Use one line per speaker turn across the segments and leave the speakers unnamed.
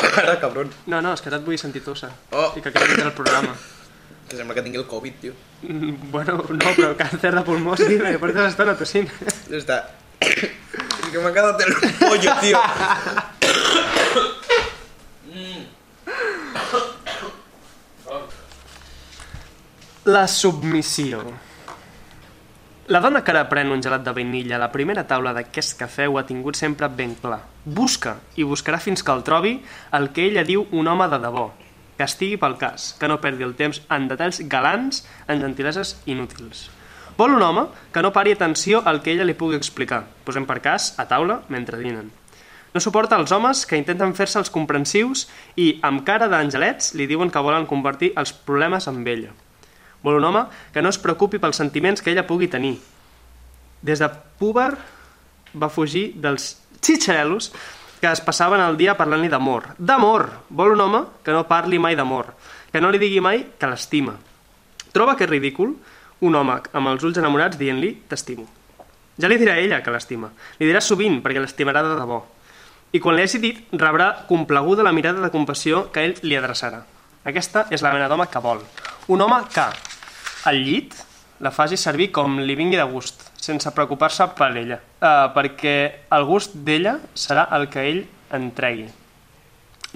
Ara, cabron.
No, no, és que ara et vull sentir tossa.
Oh.
I que acabi el programa.
Que sembla que tingui el Covid, tio.
Mm, Bueno, no, però el càncer de pulmó sí, perquè portes estona tossint.
Ja està. És que m'ha quedat el pollo, tio.
La submissió. La dona que ara pren un gelat de vainilla a la primera taula d'aquest cafè ho ha tingut sempre ben clar. Busca, i buscarà fins que el trobi, el que ella diu un home de debò. Que estigui pel cas, que no perdi el temps en detalls galants, en gentileses inútils. Vol un home que no pari atenció al que ella li pugui explicar. Posem per cas, a taula, mentre dinen. No suporta els homes que intenten fer-se els comprensius i, amb cara d'angelets, li diuen que volen convertir els problemes en ella. Vol un home que no es preocupi pels sentiments que ella pugui tenir. Des de púber va fugir dels xitxarelos que es passaven el dia parlant-li d'amor. D'amor! Vol un home que no parli mai d'amor, que no li digui mai que l'estima. Troba que és ridícul un home amb els ulls enamorats dient-li t'estimo. Ja li dirà ella que l'estima. Li dirà sovint, perquè l'estimarà de debò. I quan li hagi dit, rebrà compleguda la mirada de compassió que ell li adreçarà. Aquesta és la mena d'home que vol. Un home que, al llit, la faci servir com li vingui de gust, sense preocupar-se per ella, eh, perquè el gust d'ella serà el que ell en tregui.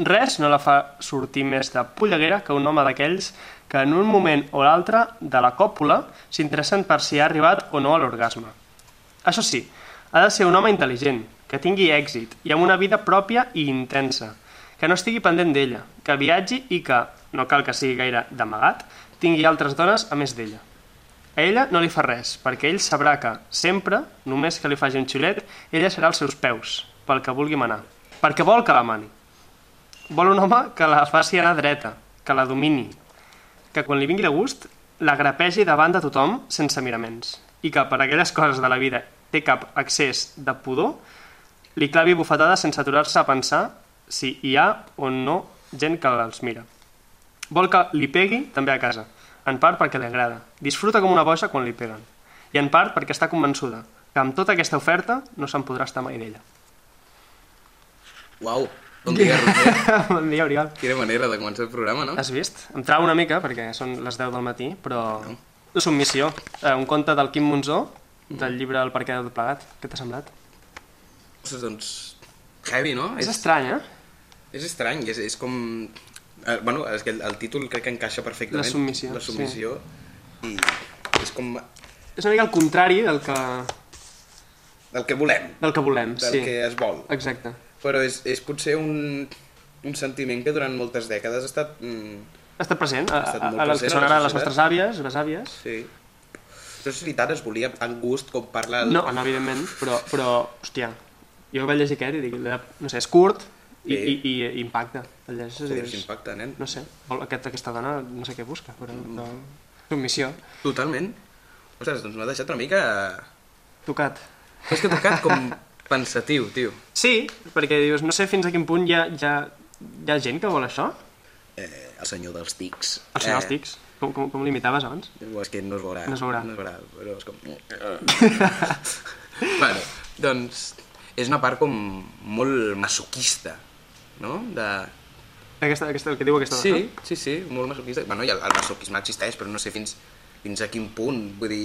Res no la fa sortir més de polleguera que un home d'aquells que en un moment o l'altre de la còpula s'interessen per si ha arribat o no a l'orgasme. Això sí, ha de ser un home intel·ligent, que tingui èxit i amb una vida pròpia i intensa, que no estigui pendent d'ella, que viatgi i que, no cal que sigui gaire d'amagat, tingui altres dones a més d'ella. A ella no li fa res, perquè ell sabrà que, sempre, només que li faci un xiulet, ella serà als seus peus, pel que vulgui manar, perquè vol que la mani. Vol un home que la faci anar dreta, que la domini, que quan li vingui de gust la grapegi davant de tothom sense miraments i que per aquelles coses de la vida té cap accés de pudor li clavi bufetada sense aturar-se a pensar si hi ha o no gent que els mira. Vol que li pegui també a casa, en part perquè li agrada. Disfruta com una boja quan li peguen. I en part perquè està convençuda que amb tota aquesta oferta no se'n podrà estar mai d'ella.
Uau, bon dia, Roger.
bon dia, Oriol.
Quina manera de començar el programa, no?
Has vist? Em trau una mica, perquè són les 10 del matí, però... La submissió, eh, un conte del Quim Monzó, del llibre El perquè de tot plegat. Què t'ha semblat?
Ostres, doncs... Heavy, no?
És estrany, eh?
És estrany, és, és com... Eh, bueno, és que el, el títol crec que encaixa perfectament.
La submissió,
La submissió. Sí. I és com
És una mica el contrari del que,
el que volem,
del que volem,
del
sí.
que es vol.
Exacte.
Però és, és potser un, un sentiment que durant moltes dècades ha estat... Mm,
Ha estat present, a,
estat
a,
molt
a les que
present
són
a la
ara les
societat.
nostres àvies, les àvies.
sí. No sé si tant es volia amb gust com parla... El...
No, no, evidentment, però, però hòstia, jo vaig llegir aquest i dic, no sé, és curt i, i,
Sí.
i, i impacta. El llegeixes i
Joder,
dius,
Impacte, nen.
no sé, vol- aquest, aquesta dona no sé què busca, però...
Mm.
No. Submissió,
Totalment. Ostres, doncs m'ha deixat una mica...
tocat.
Però és que t'ha quedat com pensatiu, tio.
Sí, perquè dius, no sé fins a quin punt hi ha, hi ha, hi ha gent que vol això.
Eh, el senyor dels tics.
Els eh. tics, com, com, com l'imitaves abans?
Eh, és que no es veurà.
No es veurà.
No es veurà, però és com... bueno, doncs és una part com molt masoquista, no? De...
Aquesta, aquesta, el que diu aquesta dona.
Sí, sí, sí, molt masoquista. Bueno, i el, el masoquisme existeix, però no sé fins, fins a quin punt. Vull dir,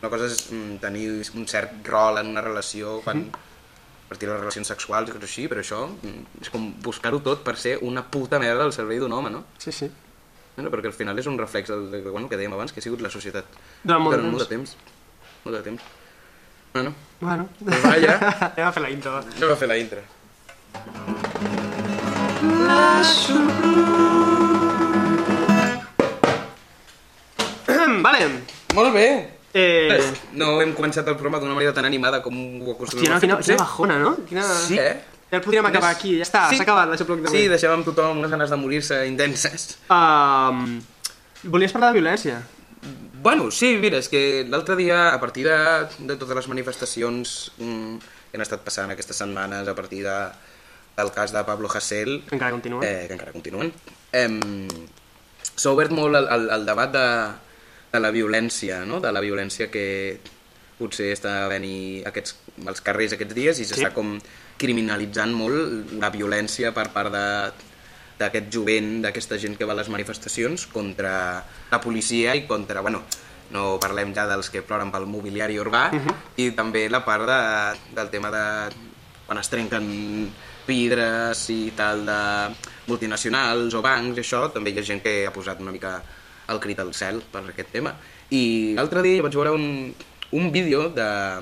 una cosa és mm, tenir un cert rol en una relació quan a partir de les relacions sexuals i coses així, però això mm, és com buscar-ho tot per ser una puta merda al servei d'un home, no?
Sí, sí.
Bueno, perquè al final és un reflex del, del bueno, que dèiem abans, que ha sigut la societat.
Durant molt de
Durant molt de temps. Molt de temps. Bueno,
Bueno,
pues vaya,
anem a fer la intro. va.
anem a fer la intro.
vale.
Molt bé!
Eh,
No hem començat el programa d'una manera tan animada com ho acostumem
Hòstia, no,
a fer,
quina,
potser.
quina bajona, no? Quina...
Sí, eh?
Ja el podríem acabar aquí, ja està, s'ha acabat l'aixopluc
Sí,
d'avui.
deixàvem tothom unes ganes de morir-se intenses.
Um, volies parlar de violència?
Bueno, sí, mira, és que l'altre dia, a partir de, de totes les manifestacions mm, que han estat passant aquestes setmanes, a partir de, del cas de Pablo Hasél,
Encara continua?
eh, que encara continuen. Em, S'ha obert molt el, el, el debat de, de la violència, no? de la violència que potser està venir aquests, als carrers aquests dies i s'està
Sí.
com criminalitzant molt la violència per part de, d'aquest jovent, d'aquesta gent que va a les manifestacions contra la policia i contra, bueno, no parlem ja dels que ploren pel mobiliari urbà uh -huh. i també la part de, del tema de quan es trenquen vidres i tal de multinacionals o bancs i això, també hi ha gent que ha posat una mica el crit al cel per aquest tema. I l'altre dia vaig veure un, un vídeo de,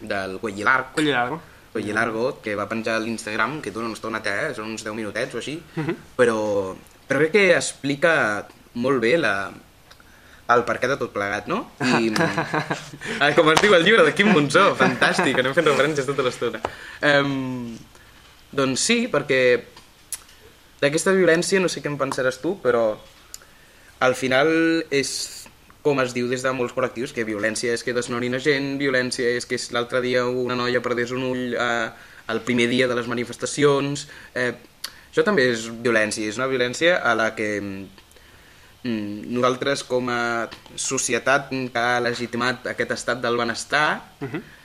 del Cuellilarc,
Colli largo.
Oye Largo, que va penjar a l'Instagram, que dura una estoneta, eh? són uns 10 minutets o així, però, però crec que explica molt bé la, el per què de tot plegat, no? I, ah, com es diu el llibre de Quim Monzó, fantàstic, anem fent referències tota l'estona. Um, doncs sí, perquè d'aquesta violència no sé què en pensaràs tu, però al final és com es diu des de molts col·lectius, que violència és que desnonin a gent, violència és que és l'altre dia una noia perdés un ull eh, el primer dia de les manifestacions... Eh, això també és violència, és una violència a la que mm, nosaltres com a societat que ha legitimat aquest estat del benestar,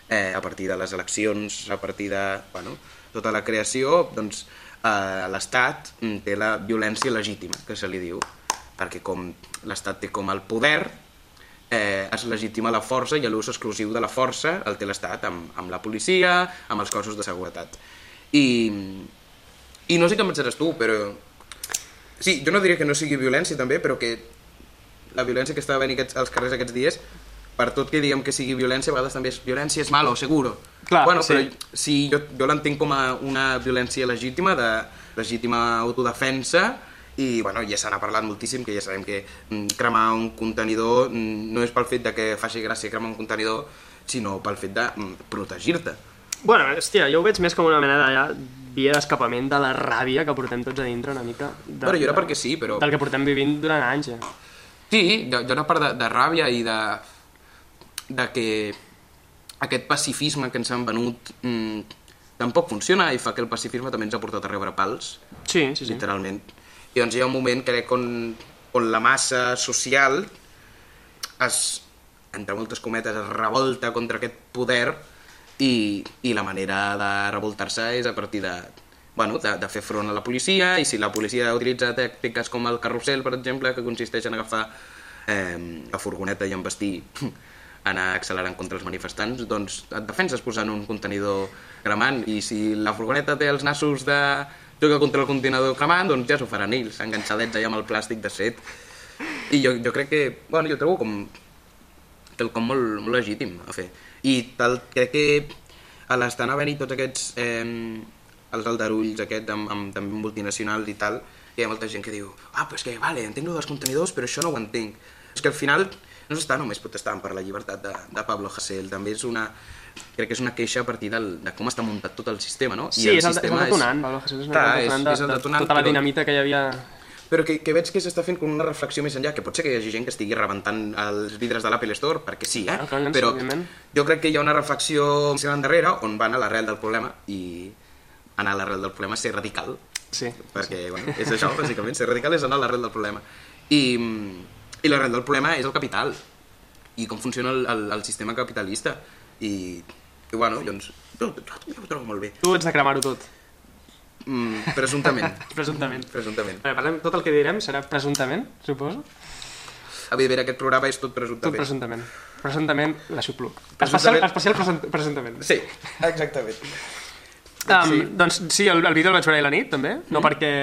eh, a partir de les eleccions, a partir de bueno, tota la creació, doncs eh, l'Estat mm, té la violència legítima, que se li diu, perquè com l'Estat té com el poder, eh, es legitima la força i l'ús exclusiu de la força el té l'Estat amb, amb la policia, amb els cossos de seguretat. I, mm, i no sé què en pensaràs tu, però... Sí, jo no diria que no sigui violència també, però que la violència que està venint aquests, als carrers aquests dies, per tot que diguem que sigui violència, a vegades també és violència és malo, seguro.
Clar,
bueno,
sí.
però si jo, jo l'entenc com a una violència legítima, de legítima autodefensa, i bueno, ja se n'ha parlat moltíssim, que ja sabem que mm, cremar un contenidor mm, no és pel fet de que faci gràcia cremar un contenidor, sinó pel fet de mm, protegir-te.
Bueno, hòstia, jo ho veig més com una mena de ja, via d'escapament de la ràbia que portem tots a dintre una mica. De,
Bueno, jo era perquè sí, però...
Del que portem vivint durant anys, eh. ja.
Sí, hi ha hi ha una part de, de ràbia i de, de que aquest pacifisme que ens han venut mmm, tampoc funciona i fa que el pacifisme també ens ha portat a rebre pals,
Sí, sí, sí.
literalment. I doncs hi ha un moment, crec, on, on la massa social es, entre moltes cometes, es revolta contra aquest poder i, i la manera de revoltar-se és a partir de, bueno, de, de fer front a la policia i si la policia utilitza tèctiques com el carrusel, per exemple, que consisteix en agafar eh, la furgoneta i envestir anar accelerant contra els manifestants, doncs et defenses posant un contenidor cremant i si la furgoneta té els nassos de jugar contra el contenidor cremant, doncs ja s'ho faran ells, enganxadets allà amb el plàstic de set. I jo, jo crec que, bueno, jo trobo com quelcom molt, molt legítim a fer. I tal, crec que a l'estan a venir tots aquests eh, els aldarulls aquests amb, amb, també multinacionals i tal, hi ha molta gent que diu ah, però és que, vale, entenc lo dels contenidors, però això no ho entenc. És que al final no s'està només protestant per la llibertat de, de Pablo Hasél, també és una crec que és una queixa a partir del, de com està muntat tot el sistema, no?
Sí, és el, és el detonant, Pablo Jesús, és,
Clar,
el detonant de,
és el detonant,
de tota la
però-
dinamita que hi havia...
però que, que veig que s'està fent com una reflexió més enllà, que pot ser que hi hagi gent que estigui rebentant els vidres de l'Apple Store, perquè sí, eh?
Ah, clar, sí,
però
òbviament.
jo crec que hi ha una reflexió al darrere on van a l'arrel del problema i anar a l'arrel del problema és ser radical,
Sí.
perquè bueno, és això, bàsicament, ser radical és anar a l'arrel del problema. I, i l'arrel del problema és el capital i com funciona el, el, el sistema capitalista. I, i bueno, doncs, jo, jo, jo ho trobo molt bé,
Tu ets de cremar-ho tot,
mm, presumptament.
presumptament.
presumptament.
Bé, parlem, tot el que direm serà presumptament, suposo?
A veure, aquest programa és tot
Tot
presumptament.
presumptament. Presumptament, la xuplo. Especial,
Presumptament-
especial presunt- presumptament.
Sí, exactament.
Um, sí.
Sí. Mhm.
Doncs sí, el, el vídeo el vaig veure ahir a la nit, també, no mm. perquè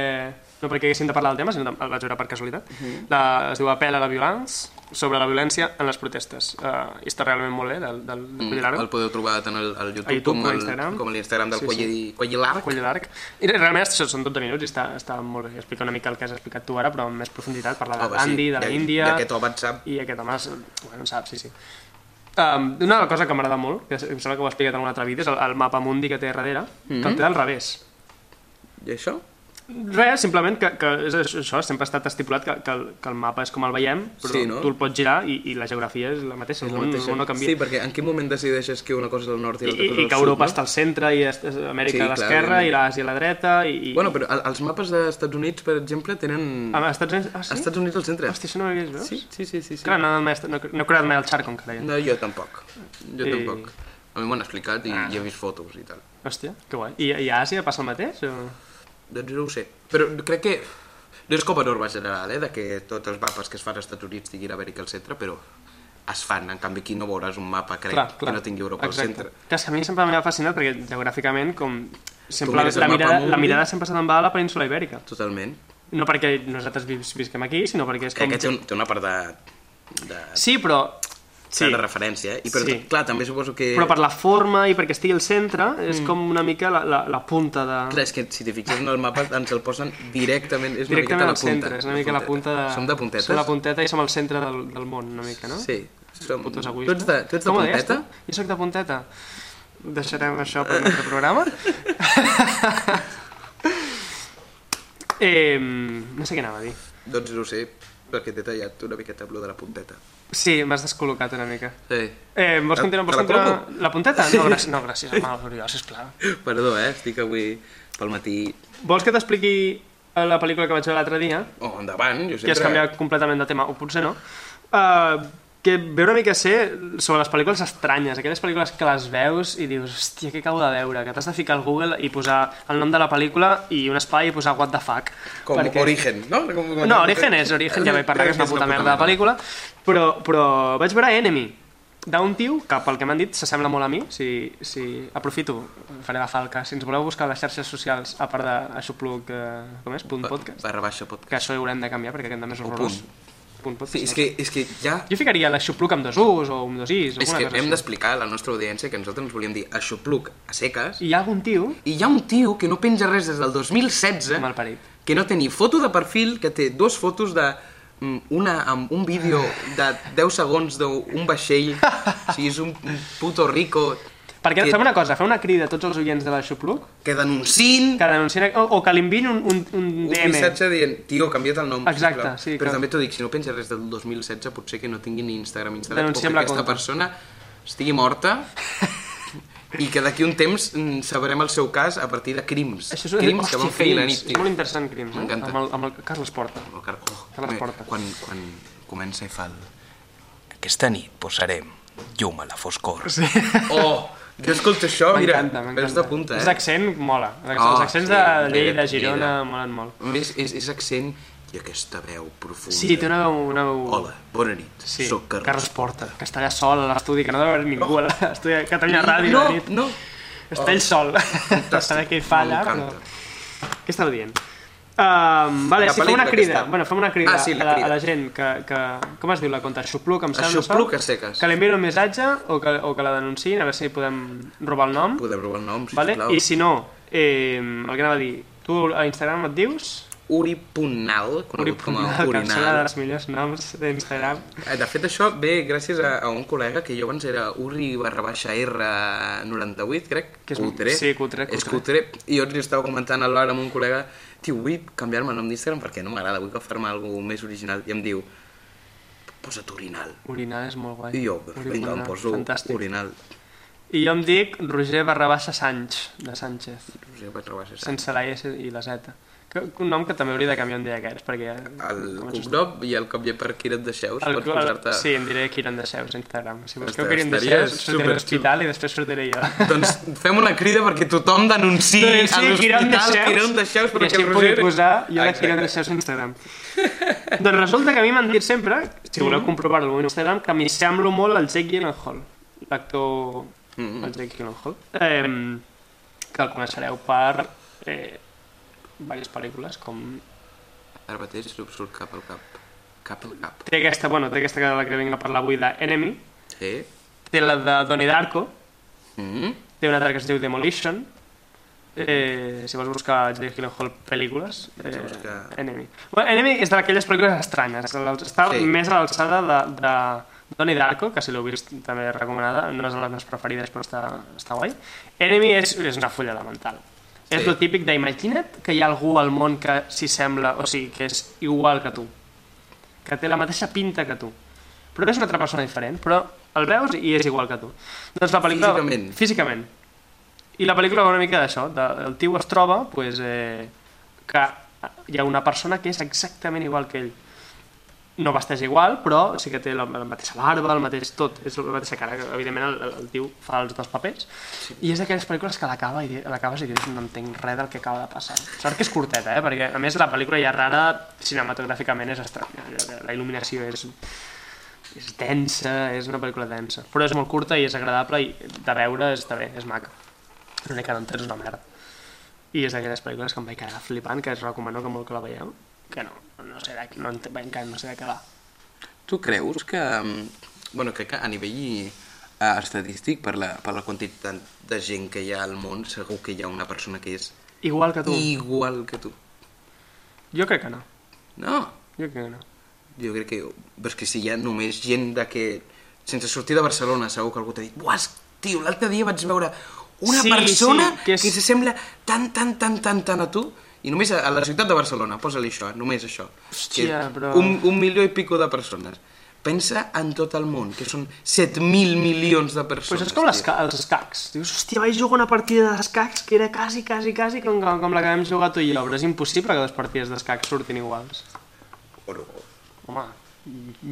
no perquè haguéssim de parlar del tema, sinó que el vaig veure per casualitat.
Mhm.
la, es diu Apel a la violence, sobre la violència en les protestes. Uh, I està realment molt bé, del, del, del mm,
El podeu trobar tant al, al YouTube,
A YouTube
com,
o a
al,
Instagram.
com a l'Instagram del
Sí,
sí,
sí.
sí. Cuellilarc.
Coll d'arc. I realment això són 12 minuts i està, està molt bé. Explica una mica el que has explicat tu ara, però amb més profunditat. Parla de l'Andy, de l'Índia...
D'aquest home en sap.
I aquest home, és- bueno, en sap, sí, sí. Um, una cosa que m'agrada molt, que em sembla que ho he explicat en un altre vídeo, és el, el mapa mundi que té darrere,
Mhm.
mm -hmm. que el té al revés.
I això?
Res, simplement que, que és això, sempre ha estat estipulat que, que, el, que el mapa és com el veiem, però
Sí, no?
tu el pots girar i, i la geografia és la mateixa, el món, el món no canvia.
Mm. Sí, perquè en quin moment decideixes que una cosa és del nord i
I,
l'altra
i,
cosa és del sud?
I que Europa
no?
està al centre i est- est- Amèrica
Sí,
sí, a
clar,
l'esquerra i
evidentment.
l'Àsia a la dreta i... i...
Bueno, però el- els mapes dels Estats Units, per exemple, tenen...
Ah, als Estats Units... Ah, sí?
Als Estats Units al centre.
Hòstia, això no ho havies vist?
Sí, sí, sí, sí. sí.
Clar, no, no, no, no, no he creat mai el xarco encara. Jo.
No, jo tampoc. Jo
I-
tampoc.
Ah.
A mi m'ho han explicat i, i he vist fotos i tal.
Hòstia, que guai. I, I a Àsia passa el mateix? O...
Doncs no ho sé. Però crec que... No és com a norma general, eh, de que tots els mapes que es fan als Estats Units tinguin Amèrica al centre, però es fan. En canvi, aquí no veuràs un mapa, crec, clar, clar. que no tingui Europa
Exacte.
al centre.
Clar, és que a mi sempre m'ha fascinat perquè geogràficament com sempre
mires el
la,
mapa
mirada,
mundi.
la mirada sempre se te'n va a la península ibèrica.
Totalment.
No perquè nosaltres vis visquem aquí, sinó perquè és
Com...
com...
Aquest té, un, té una part de, de,
Sí, però...
sí.
Sí,
de referència, eh? I però, sí.
Sí.
clar, també suposo que...
però per la forma i perquè estigui al centre és com una mica la, la, la punta de...
Mm. Clar, és que si t'hi fixes en el mapa ens el posen directament, és una miqueta
Directament
la
al
punta.
centre, és una mica la punta de...
Som de puntetes?
Som la punteta i som al centre del, del món, una mica, no?
Sí. Som...
Putos
tu
egoistes.
ets de, tu ets de
Com ho deies,
punteta?
tu? Jo sóc de punteta. Deixarem això per un altre programa. eh, no sé què anava a dir.
Doncs no ho sé, perquè t'he tallat una miqueta amb lo de la punteta.
Sí, m'has descol·locat una mica.
Sí.
Eh, vols
Te-
continuar? Vols
te la
continuar?
col·loco?
La punteta? No, gràcies, no, gràcies home, Oriol, sisplau.
Perdó, eh? Estic avui pel matí...
Vols que t'expliqui eh, la pel·lícula que vaig veure l'altre dia?
O oh, endavant, jo sempre...
que has canviat completament de tema, o potser no, uh, que ve una mica a ser sobre les pel·lícules estranyes, aquelles pel·lícules que les veus i dius, hòstia, què acabo de veure? Que t'has de ficar al Google i posar el nom de la pel·lícula i un espai i posar what the fuck.
Com perquè... origen, no? Com, com-
No, Origen és Origen, ja vaig parlar que és una puta merda de pel·lícula, però, però vaig veure Enemy, d'un tio que, pel que m'han dit, s'assembla molt a mi, si, si aprofito, faré la falca, si ens voleu buscar a les xarxes socials, a part d'aixopluc, eh, com és, punt podcast,
Barra baixa podcast.
que això hi haurem de canviar perquè aquest també és horrorós. Punt. podcast.
Sí, és que, és que ja...
Jo ficaria l'aixopluc amb dos U's o amb dos I's,
És
alguna
que
cosa
hem
així.
d'explicar a la nostra audiència que nosaltres ens volíem dir aixopluc a seques
I hi ha algun tio
i hi ha un tio que no penja res des del 2016
malparit.
que no té ni foto de perfil, que té dues fotos de mm, una amb un vídeo de 10 segons d'un vaixell, o sigui, és un un puto rico,
Perquè
Que-
fem una cosa, fem una crida a tots els oients de l'aixopluc
que denunciïn
que denuncien o, o que li enviïn un, un, un
un
DM.
missatge dient, tio, canvia't el nom.
Exacte,
sisplau."
sí,
Però
clar.
també t'ho dic, si no penges res del 2016, potser que no tingui ni Instagram instal·lat,
Denunciem
o
la
que aquesta
conta.
persona estigui morta i que d'aquí un temps mm, sabrem el seu cas a partir de crims.
Això és un...
crims que van fer la
crims.
nit.
És molt interessant, Crims. Eh?
M'encanta.
Amb, el, amb el Carles Porta.
El car... oh,
Te les
bé,
porta.
Quan, quan comença i fa el... Aquesta nit posarem llum a la foscor. Sí. Oh, jo escolto això, mira,
M'encanta,
perds
m'encanta.
de punta,
És
eh?
accent, mola. Els acc-
Oh,
Els accents
sí,
de
de
Lleida,
Lleida.
Girona, molen molt.
A més, és, és accent i aquesta veu profunda.
Sí, té una veu... Una veu...
Hola, bona nit,
Sí,
sóc Carles.
Carles Porta, que està allà sol a l'estudi, que no deu haver ningú a l'estudi de Catalunya Ràdio
no, Oh.
de nit.
no,
Està ell sol. No saber què hi fa allà, però...
M'encanta.
Què estava dient? Um, vale,
La
sí, fem
pel·lícula
una crida.
aquesta.
Bueno, fem una crida,
Ah, sí, la
a, la,
crida.
a la gent que, que... Com es diu la conta? Xupluc, em sembla?
Aixopluc
això?
a seques.
Que li enviïn un missatge o que, o que la denunciïn, a veure si podem robar el nom.
Podeu robar el nom,
Vale?
sisplau.
I si no, eh, el que anava a dir, tu a Instagram et dius?
Uripunal,
Uri
conegut com a
Punal, que em sembla
urinal.
dels millors noms d'Instagram.
Eh, De fet, això ve gràcies a, a un col·lega que jo abans era Uri barra baixa R98, crec.
Que és un- sí, cutre,
És
cutre.
cutre. I jo li estava comentant a l'hora amb un col·lega, tio, vull canviar-me el nom d'Instagram perquè no m'agrada, vull agafar-me alguna més original. I em diu, posa't urinal.
Urinal és molt guai.
I jo,
Uri
vinga, em
Punal,
poso
Fantàstic.
urinal.
I jo em dic Roger barra baixa Sanch, de Sánchez.
Roser barra baixa.
sense la S i la Z. Que, un nom que també hauria de canviar un dia d'aquests, perquè... Ja...
El cognom i el canviar per qui et deixeu,
El,
pots posar-te...
sí, em diré Kiran de Seus a Instagram. Si busqueu
Ostres,
Kiran de
estaria
Seus, sortiré a
superxul.
l'hospital i després sortiré jo.
Doncs fem una crida perquè tothom denunciï
Doncs
a
sí, Kiran de
l'hospital
Seus.
Quiron de Xeus,
I
però que
així
el
em pugui
Roser...
posar jo la
Exacte.
Kiran de Seus a Instagram. doncs resulta que a mi m'han dit sempre, si
Mm.
voleu comprovar el meu Instagram, que m'hi semblo molt al Jake Gyllenhaal, l'actor...
Mm.
El Jake Gyllenhaal. Eh, que el coneixereu per... Eh, diverses pel·lícules com
Ara mateix no em surt cap al cap. Cap al cap.
Té aquesta, bueno, té aquesta que la que vinc a parlar avui d'Enemy,
Sí.
té la de Donnie Darko,
Eh? Mm.
té una altra que es diu Demolition, eh, si vols buscar Jake Gyllenhaal pel·lícules, eh,
buscar-
Enemy. Bueno, Enemy és d'aquelles pel·lícules estranyes, a l'alt- està
Sí.
sí. més a l'alçada de, de Donnie Darko, que si l'heu vist també recomanada, no és de les meves preferides però està, està guai. Enemy és, és una fulla mental. Sí. És
Sí.
lo típic d'imagina't que hi ha algú al món que s'hi sembla, o sigui, que és igual que tu, que té la mateixa pinta que tu. Però és una altra persona diferent, però el veus i és igual que tu. Doncs la pel·lícula...
Físicament.
Físicament. I la pel·lícula va una mica d'això. de- El tio es troba pues, eh, que hi ha una persona que és exactament igual que ell. no vesteix igual, però sí que té la, la mateixa barba, el mateix tot, és la mateixa cara, que, evidentment el, el, el tio fa els dos papers, sí. i és d'aquelles pel·lícules que l'acaba i di- l'acabes i dius no entenc res del que acaba de passar. Sort que és curteta, eh? perquè a més la pel·lícula ja rara cinematogràficament és estranya, la, la il·luminació és, és densa, és una pel·lícula densa, però és molt curta i és agradable i de veure està bé, és maca. L'únic que no entens una merda. I és d'aquelles pel·lícules que em vaig quedar flipant, que es recomano que molt que la veieu, que no, no sé de, no, ent- encara no sé de què va.
Tu creus que... mm, Bueno, crec que a nivell eh, estadístic, per la, per la quantitat de gent que hi ha al món, segur que hi ha una persona que és
Igual que tu. I...
igual que tu.
Jo crec que no.
No,
Jo crec que no.
jo crec que... Però és que si hi ha només gent de que... Sense sortir de Barcelona, segur que algú t'ha dit Buah, és- tio, l'altre dia vaig veure una
Sí,
persona
sí, que
que,
és-
que s'assembla tant, tant, tant, tant, tant a tu i només a a la ciutat de Barcelona, posa-li això, eh, només això.
Hòstia,
Que
però-
un, un milió i pico de persones. Pensa en tot el món, que són 7.000 milions de
Però
persones.
és com les, ca- els escacs. Dius, hòstia, vaig jugar una partida d'escacs que era quasi, quasi, quasi com, com, com la que vam jugar tu i jo, però és impossible que les partides d'escacs surtin iguals.
Oro.
Home,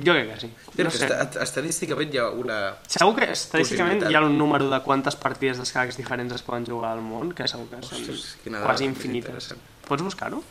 jo crec que sí.
No
No sé.
Estadísticament hi ha una...
Segur que estadísticament
Possibilitat.
hi ha un número de quantes partides d'escacs diferents es poden jugar al món, que segur que són
Ostres, quina dada,
quasi
és
infinites.
interessant.
Pots buscar-ho?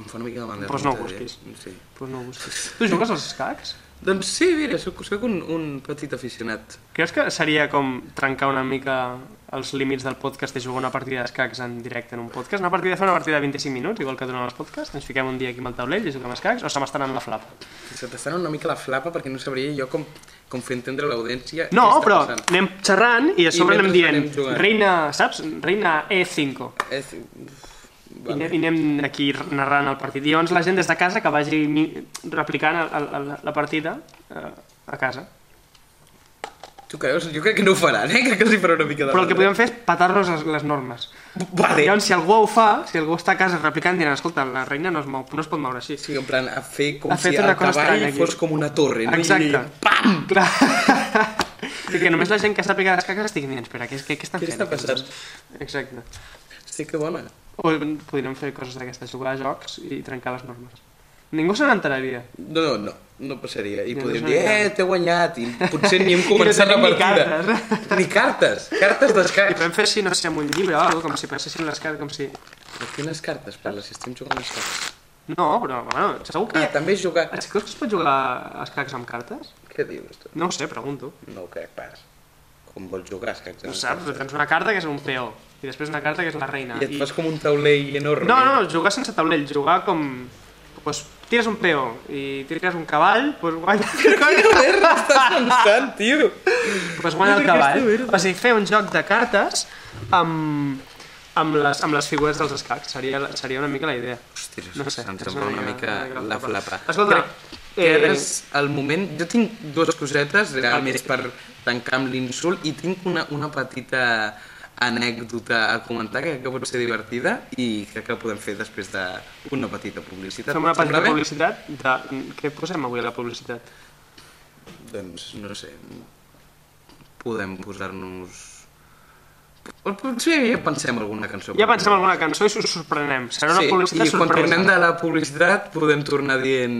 Em fa una mica de mal de
Doncs no ho
compte, eh?
busquis.
Sí.
Pues no ho busques. Tu jugues als escacs?
Doncs sí, mira, soc, soc un, un petit aficionat
Creus que seria com trencar una mica els límits del podcast i jugar una partida d'escacs en directe en un podcast? Una partida, fer una partida de 25 minuts, igual que donen els podcasts, ens fiquem un dia aquí amb el taulell i juguem a escacs, o se m'estaran la flapa?
Se t'està una mica la flapa perquè no sabria jo com, com fer entendre l'audiència
No,
què està
però
passant.
anem xerrant i a
I
sobre anem
mentre
dient
anem jugant.
reina, saps? Reina E5.
És...
I
Vale.
anem- i anem aquí narrant el partit. I llavors la gent des de casa que vagi mi- replicant el, el, el, la partida eh, a casa.
Tu creus? Jo crec que no ho faran, eh? Crec que els hi farà una mica de...
Però el que
mal,
podem fer és petar-nos les, les normes.
eh? Vale.
Llavors, si algú ho fa, si algú està a casa replicant, diran, escolta, la reina no es, mou, no es pot moure així.
Sí, en plan, a fer com
Ha
si
fet
el
tota una cosa
cavall
estranya aquí.
fos com una torre. No? I-
Exacte.
Pam!
Clar. I que només la gent que sàpiga les caques estigui dient, espera, què, què, què estan
Què
fent? Doncs,
està passant?
Exacte.
Sí, que bona.
O podríem fer coses d'aquestes, jugar a jocs i trencar les normes. Ningú se n'enteraria.
No, no, no. No passaria. I
No, no
podríem dir,
sabia.
eh, t'he guanyat. I potser ni hem
I no
començat la
tenim ni
partida. Ni cartes. Cartes
I
d'escacs.
podem fer si no sé, amb un llibre o alguna cosa, com si passessin les cases, com si...
Però quines cartes? Però si estem jugant a escacs.
No, però, bueno, segur que...
Ah, també és jugar...
Es creus que es pot jugar a escacs amb cartes?
Què dius, tu?
No ho sé, pregunto.
No ho crec pas. Com vols jugar, escacs?
No ho saps, però tens una carta que és un peó, i després una carta que és la reina.
I et fas com un taulell enorme.
Ah, No, no, jugar sense taulell, jugar com... Pues, tires un peó i tires un cavall, pues guanya,
Merda, estàs pensant, tio.
pues guanya el
Mira aquesta
cavall.
merda.
O sigui, fer un joc de cartes amb, amb, les, amb les figures dels escacs. Seria, la- seria una mica la idea.
Hòstia,
No sé.
se'ns
és
em fa una mica la flapa.
Escolta,
Que
eh,
és el moment... Jo tinc dues cosetes, eh, més per tancar amb l'insult, i tinc una, una petita anècdota a comentar que crec que pot ser divertida i crec que la podem fer després d'una petita publicitat.
fem una
Et sembla
petita
bé?
publicitat de... Què posem avui a la publicitat?
Doncs, no sé, podem posar-nos... O Potser ja pensem alguna cançó.
Ja pensem alguna cançó i us sorprenem. Serà una publicitat
i quan tornem
sorpresa.
de la publicitat podem tornar dient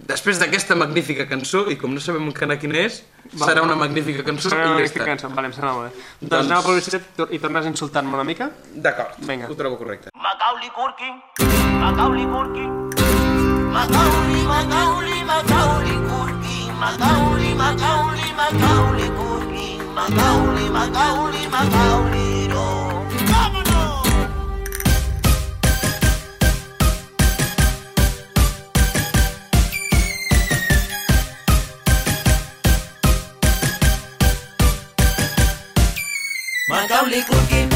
després d'aquesta magnífica cançó i com no sabem encara quina és
Val.
serà una magnífica cançó
Serà
i
una
ja està.
cançó. Vale, em sembla molt bé.
Doncs-
Doncs, doncs anem a la publicitat i tornes insultant-me una mica?
D'acord,
Vinga.
ho trobo correcte.
Macaulay Culkin, Macaulay Culkin, Macaulay, Macaulay, Macaulay Culkin, Macaulay, Macaulay, Macaulay Culkin, Macaulay, Macaulay, Macaulay, no. ¡Vámonos!
Macaulay Culkin,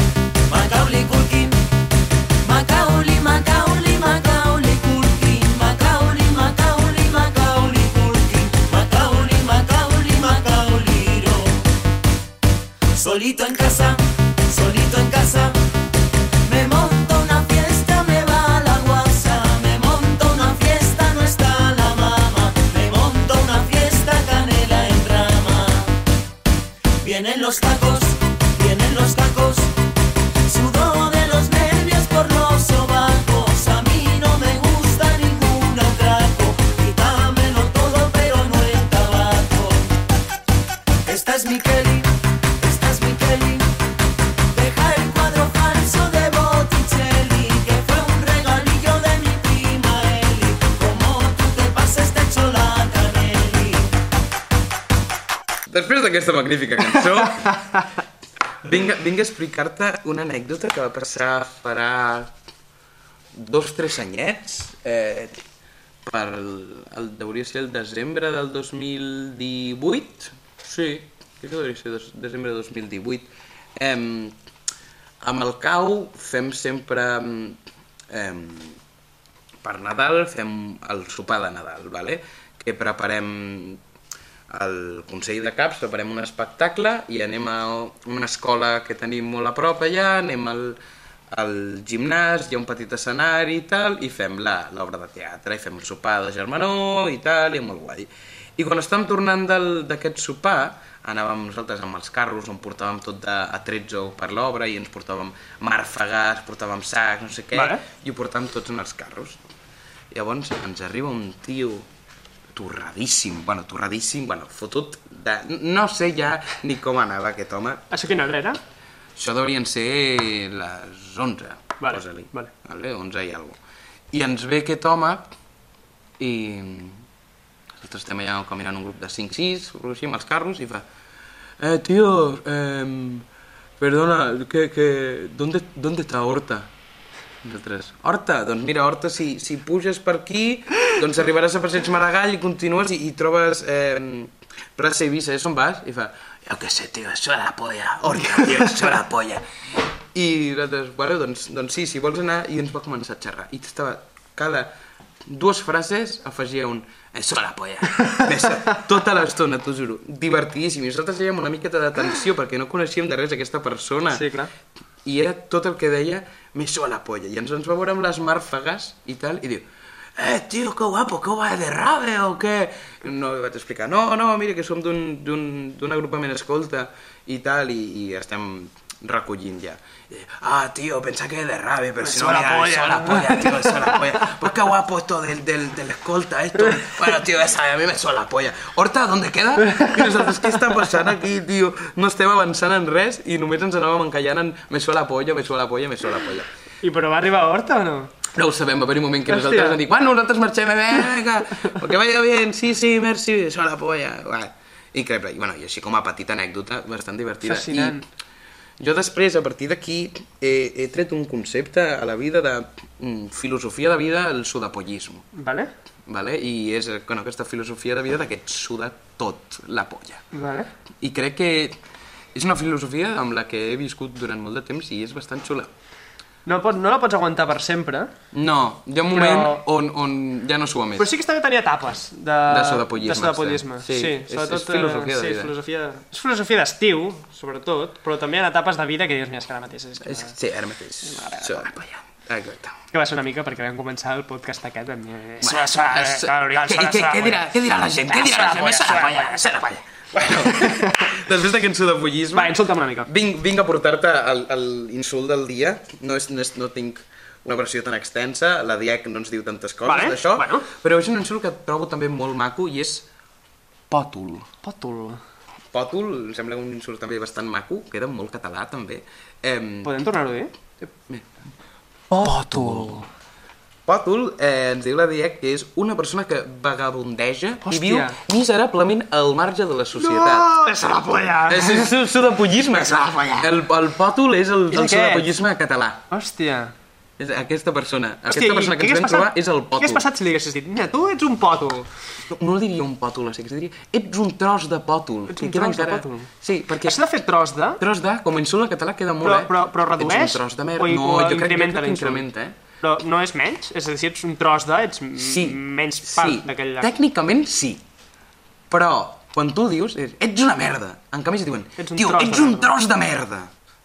Macaulay Culkin, Macaulay, Macaulay, Macaulay Culkin, Macaulay, Macaulay, Macaulay Culkin, Macaulay, Macaulay, Macaulay no. Solito en casa, solito en casa, me monto una fiesta, me va la guasa, me monto una fiesta, no está la mama, me monto una fiesta, canela en rama. Vienen los tacos, vienen los tacos.
Després d'aquesta magnífica cançó, vinc, a- vinc a explicar-te una anècdota que va passar farà dos, tres anyets, eh, per el, el, hauria ser el desembre del 2018, sí, crec que hauria ser des, desembre del 2018, em, amb el cau fem sempre em, em, per Nadal fem el sopar de Nadal, vale? que preparem el Consell de Caps, preparem un espectacle i anem a una escola que tenim molt a prop allà, anem al, al gimnàs, hi ha un petit escenari i tal, i fem la- l'obra de teatre, i fem el sopar de germanor i tal, i molt guai. I quan estàvem tornant del- d'aquest sopar, anàvem nosaltres amb els carros on portàvem tot de atrezzo per l'obra i ens portàvem màrfegues, portàvem sacs, no sé què,
Vale.
i ho portàvem tots en els carros. Llavors ens arriba un tio torradíssim, bueno, torradíssim, bueno, fotut de... No sé ja ni com anava aquest home.
Això quina hora era?
Això deurien ser les 11,
Vale,
posa-li.
vale.
vale. 11 i alguna I ens ve aquest home i... Nosaltres estem allà com mirant un grup de 5-6, o així, amb els carros, i fa... Eh, tio, eh, perdona, que, que, ¿dónde, ¿dónde está Horta? Nosaltres, Horta, doncs mira, Horta, si, si puges per aquí, doncs arribaràs a Passeig Maragall i continues i, i trobes eh, Plaça Eivissa, és on vas? I fa, jo què sé, tio, això era la polla, Horta, tio, això era la polla. I nosaltres, bueno, doncs, doncs sí, si vols anar, i ens va començar a xerrar. I estava cada dues frases afegia un això era la polla, Més, tota l'estona, t'ho juro, divertidíssim. I nosaltres dèiem una miqueta d'atenció perquè no coneixíem de res aquesta persona.
Sí, clar.
I era tot el que deia, me suba la polla. I ens, ens va veure amb les màrfegues i tal, i diu, eh, tio, que guapo, que guai de rave o què? No li vaig explicar, no, no, mira, que som d'un- d'un d'un agrupament escolta i tal, i, i estem recollint ja. I, ah, tio, pensa que de rave, però si no,
suba la
mira, me
polla,
suba la
¿no?
polla, tío, me suba la polla. Pues qué guapo esto del, del, del escolta, esto. Bueno, tío, ya sabes, a mí me suena la polla. Horta, ¿dónde queda? I nosaltres, què està passant aquí, tio? No estem avançant en res i només ens anàvem encallant en me suena la polla, me suena la polla, me suena la polla.
I però va arribar a Horta o no?
No ho sabem, va haver un moment que
Hòstia.
nosaltres vam dir bueno, nosaltres marxem, eh, vinga, que vaya bien, sí, sí, merci, me suena la polla. Vale. Increïble. I, bueno, I així com a petita anècdota, bastant divertida.
Fascinant.
I jo després, a partir d'aquí, he, he tret un concepte a la vida de mm, filosofia de vida, el sudapollismo.
Vale?
Vale? I és eh, bueno, aquesta filosofia de vida d'aquest suda tot la polla.
Vale.
I crec que és una filosofia amb la que he viscut durant molt de temps i és bastant xula.
No, pot, no la pots aguantar per sempre,
No, hi ha un moment
Però-
on, on ja no s'ho més.
però sí que està bé tenir etapes de,
De sudapollisme,
de sudapollisme.
sí.
Sí,
Sí,
sí,
és-
sobretot,
és filosofia
eh,
de
sí,
vida.
filosofia, és filosofia d'estiu, sobretot, però també hi ha etapes de vida que dius, mira, és que ara mateix és que,
És, sí, ara mateix. Suda la polla. Exacte.
que va ser una mica perquè vam començar el podcast aquest vam dir...
Bueno,
Sona, sona, eh,
és-
clar, Oriol,
què-
sona,
què-
sona,
què dirà-
bueno.
què dirà la gent? Què dirà la gent? Me suda la polla, me suda la polla. Bueno, després d'aquest sudapollisme...
Va, insulta'm una mica.
Vinc, vinc a portar-te el- el insult del dia. No, és, no, és, no tinc una versió tan extensa, la DIEC no ens diu tantes coses
Vale,
d'això,
bueno.
però és un insult que trobo també molt maco i és pòtol.
Pòtol.
Pòtol em sembla un insult també bastant maco, queda molt català també. Em,
Podem tornar-ho a dir?
Pòtol eh, ens diu la DIEC que és una persona que vagabundeja
Hòstia.
i viu miserablement al marge de la societat.
Oh, és la polla!
És, és, és sudapollisme. El, el pòtol és el,
És
el
aquest.
sudapollisme català.
Hòstia.
És aquesta persona.
Hòstia,
Aquesta
i
persona
què
que ens
hagués
vam
passat-
trobar és el
Què hagués
pòtol.
passat si li haguessis dit, mira, tu ets un pòtol.
No, no diria un pòtol, o sigui, diria, ets un tros de pòtol.
Ets
I
un
queda
tros de pòtol.
Sí, perquè
Has de fer tros de...
tros de, com a insult en català, queda molt,
Però,
eh?
però, però redueix?
Ets un tros de
o-
merda. No,
o
jo crec, jo crec
incrementa
que
l'insult?
incrementa, eh?
Però no és menys? És a dir, si ets un tros de, ets m-
Sí.
menys part
sí.
d'aquell lloc.
Tècnicament sí. Però quan tu ho dius, és, ets una merda. En canvi si diuen,
Ets un
tio,
tros de
ets un
merda."
tros de merda.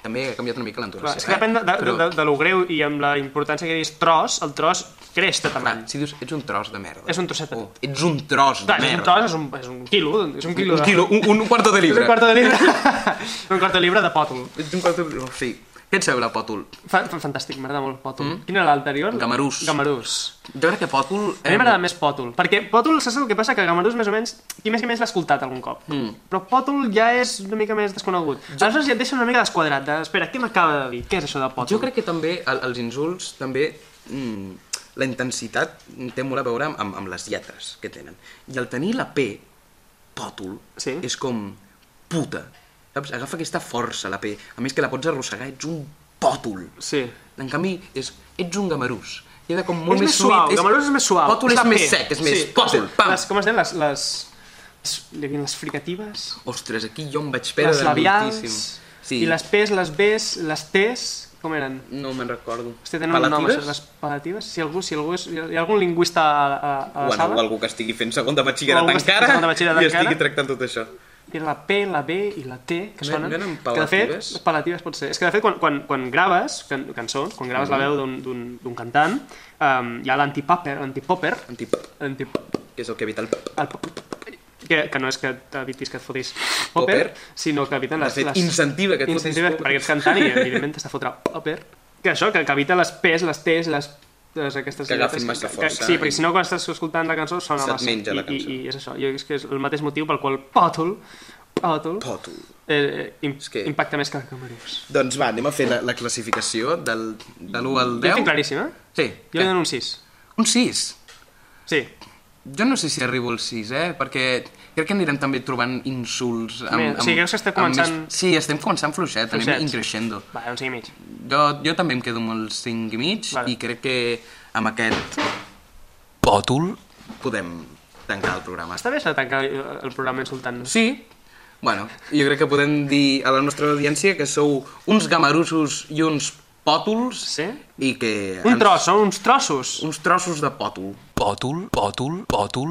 També ha canviat una mica
Clar,
l'entonació. eh?
és que depèn de, de, de, de lo greu i amb la importància que diguis tros, el tros creix de
Clar,
tamany.
si dius, ets un tros de merda.
És un trosset de-
O, ets un tros de
Clar, és un
merda.
tros, és un, és un quilo, és un quilo
Un
de...
quilo, un, un quarto de
És
libre.
un quarto de llibre. un quarto de llibre de pòtol.
Ets un quarto de libre. Sí. Què et sembla, Pòtol?
Fa, fa- fantàstic, m'agrada molt pòtol. Mm? Quin era l'anterior?
Gamarús.
Gamarús.
Jo crec que Pòtol...
A mi m'agrada més Pòtol, perquè Pòtol, saps el que passa? Que Gamarús més o menys, qui més que més l'ha escoltat algun cop. Mm. Però Pòtol ja és una mica més desconegut. Aleshores ja et deixa una mica desquadrat, de, espera, què m'acaba de dir? Què és això de Pòtol?
Jo crec que també el, els insults també mm, la intensitat té molt a veure amb, amb, amb les lletres que tenen. I el tenir la P, pòtol,
Sí.
és com puta. Saps? Agafa aquesta força, la P. A més que la pots arrossegar, ets un pòtol.
Sí.
En canvi, és, ets un gamarús. Queda com molt
és més suau,
sweet,
Gamarús és més suau.
Pòtol és,
la
més
P.
sec, és més
Sí.
pòtol. Pam!
Les, com es deien? Les, les, les, li havien les fricatives,
Ostres, aquí jo em vaig
les
perdre
labials,
moltíssim. Sí.
i les P's, les B's, les T's, com eren?
No me'n recordo.
Hòstia, tenen un nom,
Palatives?
això, les palatives? Si algú, si algú és, hi ha algun lingüista a, a, a la
Bueno,
sala?
o algú que estigui fent segon de
O
batxillerat
algú que estigui fent
encara
segon de batxillerat
i estigui
encara.
tractant tot això.
Té la P, la B i la T, que
No-
sonen.
no eren
que de fet,
palatives?
palatives pot ser. És que de fet, quan, quan, quan graves can, cançons, quan graves
Mm-hmm.
la veu d'un- d'un d'un cantant, um, hi ha l'antipopper, l'antipopper,
Antip,
l'antipop-
que és el que evita el... pop.
el pop- que, que no és que t'evitis que et fotis popper,
Popper.
sinó que eviten
De
les...
fet,
les...
incentiva que et fotis
incentiva,
popper.
Perquè ets cantant i, evidentment, t'has de fotre popper. Que això, que, que evita les P's, les T's, les les aquestes
Que agafin
lletres
massa
que-
força
Que, sí, perquè
i-
si no, quan estàs escoltant la cançó, sona
Se't
massa.
menja la
I, i,
cançó.
I, és això. Jo és que és el mateix motiu pel qual pòtol, pòtol,
Pòtol.
Eh, eh, im
És que-
Impacta més que el Camarús.
Doncs va, anem a fer la, la classificació del, de l'1 al 10.
Jo tinc claríssim, eh?
Sí.
Jo li dono un 6.
Un 6.
Sí.
Jo no sé si arribo al 6, eh? Perquè crec que anirem també trobant insults. Amb,
Bé,
amb,
o sigui, veus que estem començant-
més- Sí, estem començant fluixet,
Fluixets.
anem increixendo.
Va, un 5 i mig.
Jo, jo també em quedo amb el 5 i mig
Vale.
i crec que amb aquest pòtol podem tancar el programa.
Està bé això de tancar el programa insultant-nos.
Sí, bueno, jo crec que podem dir a la nostra audiència que sou uns gamarussos i uns pòtols
Sí?
i que...
Un
ens-
tros, són uns trossos.
Uns trossos de pòtol. Pòtol, pòtol, pòtol,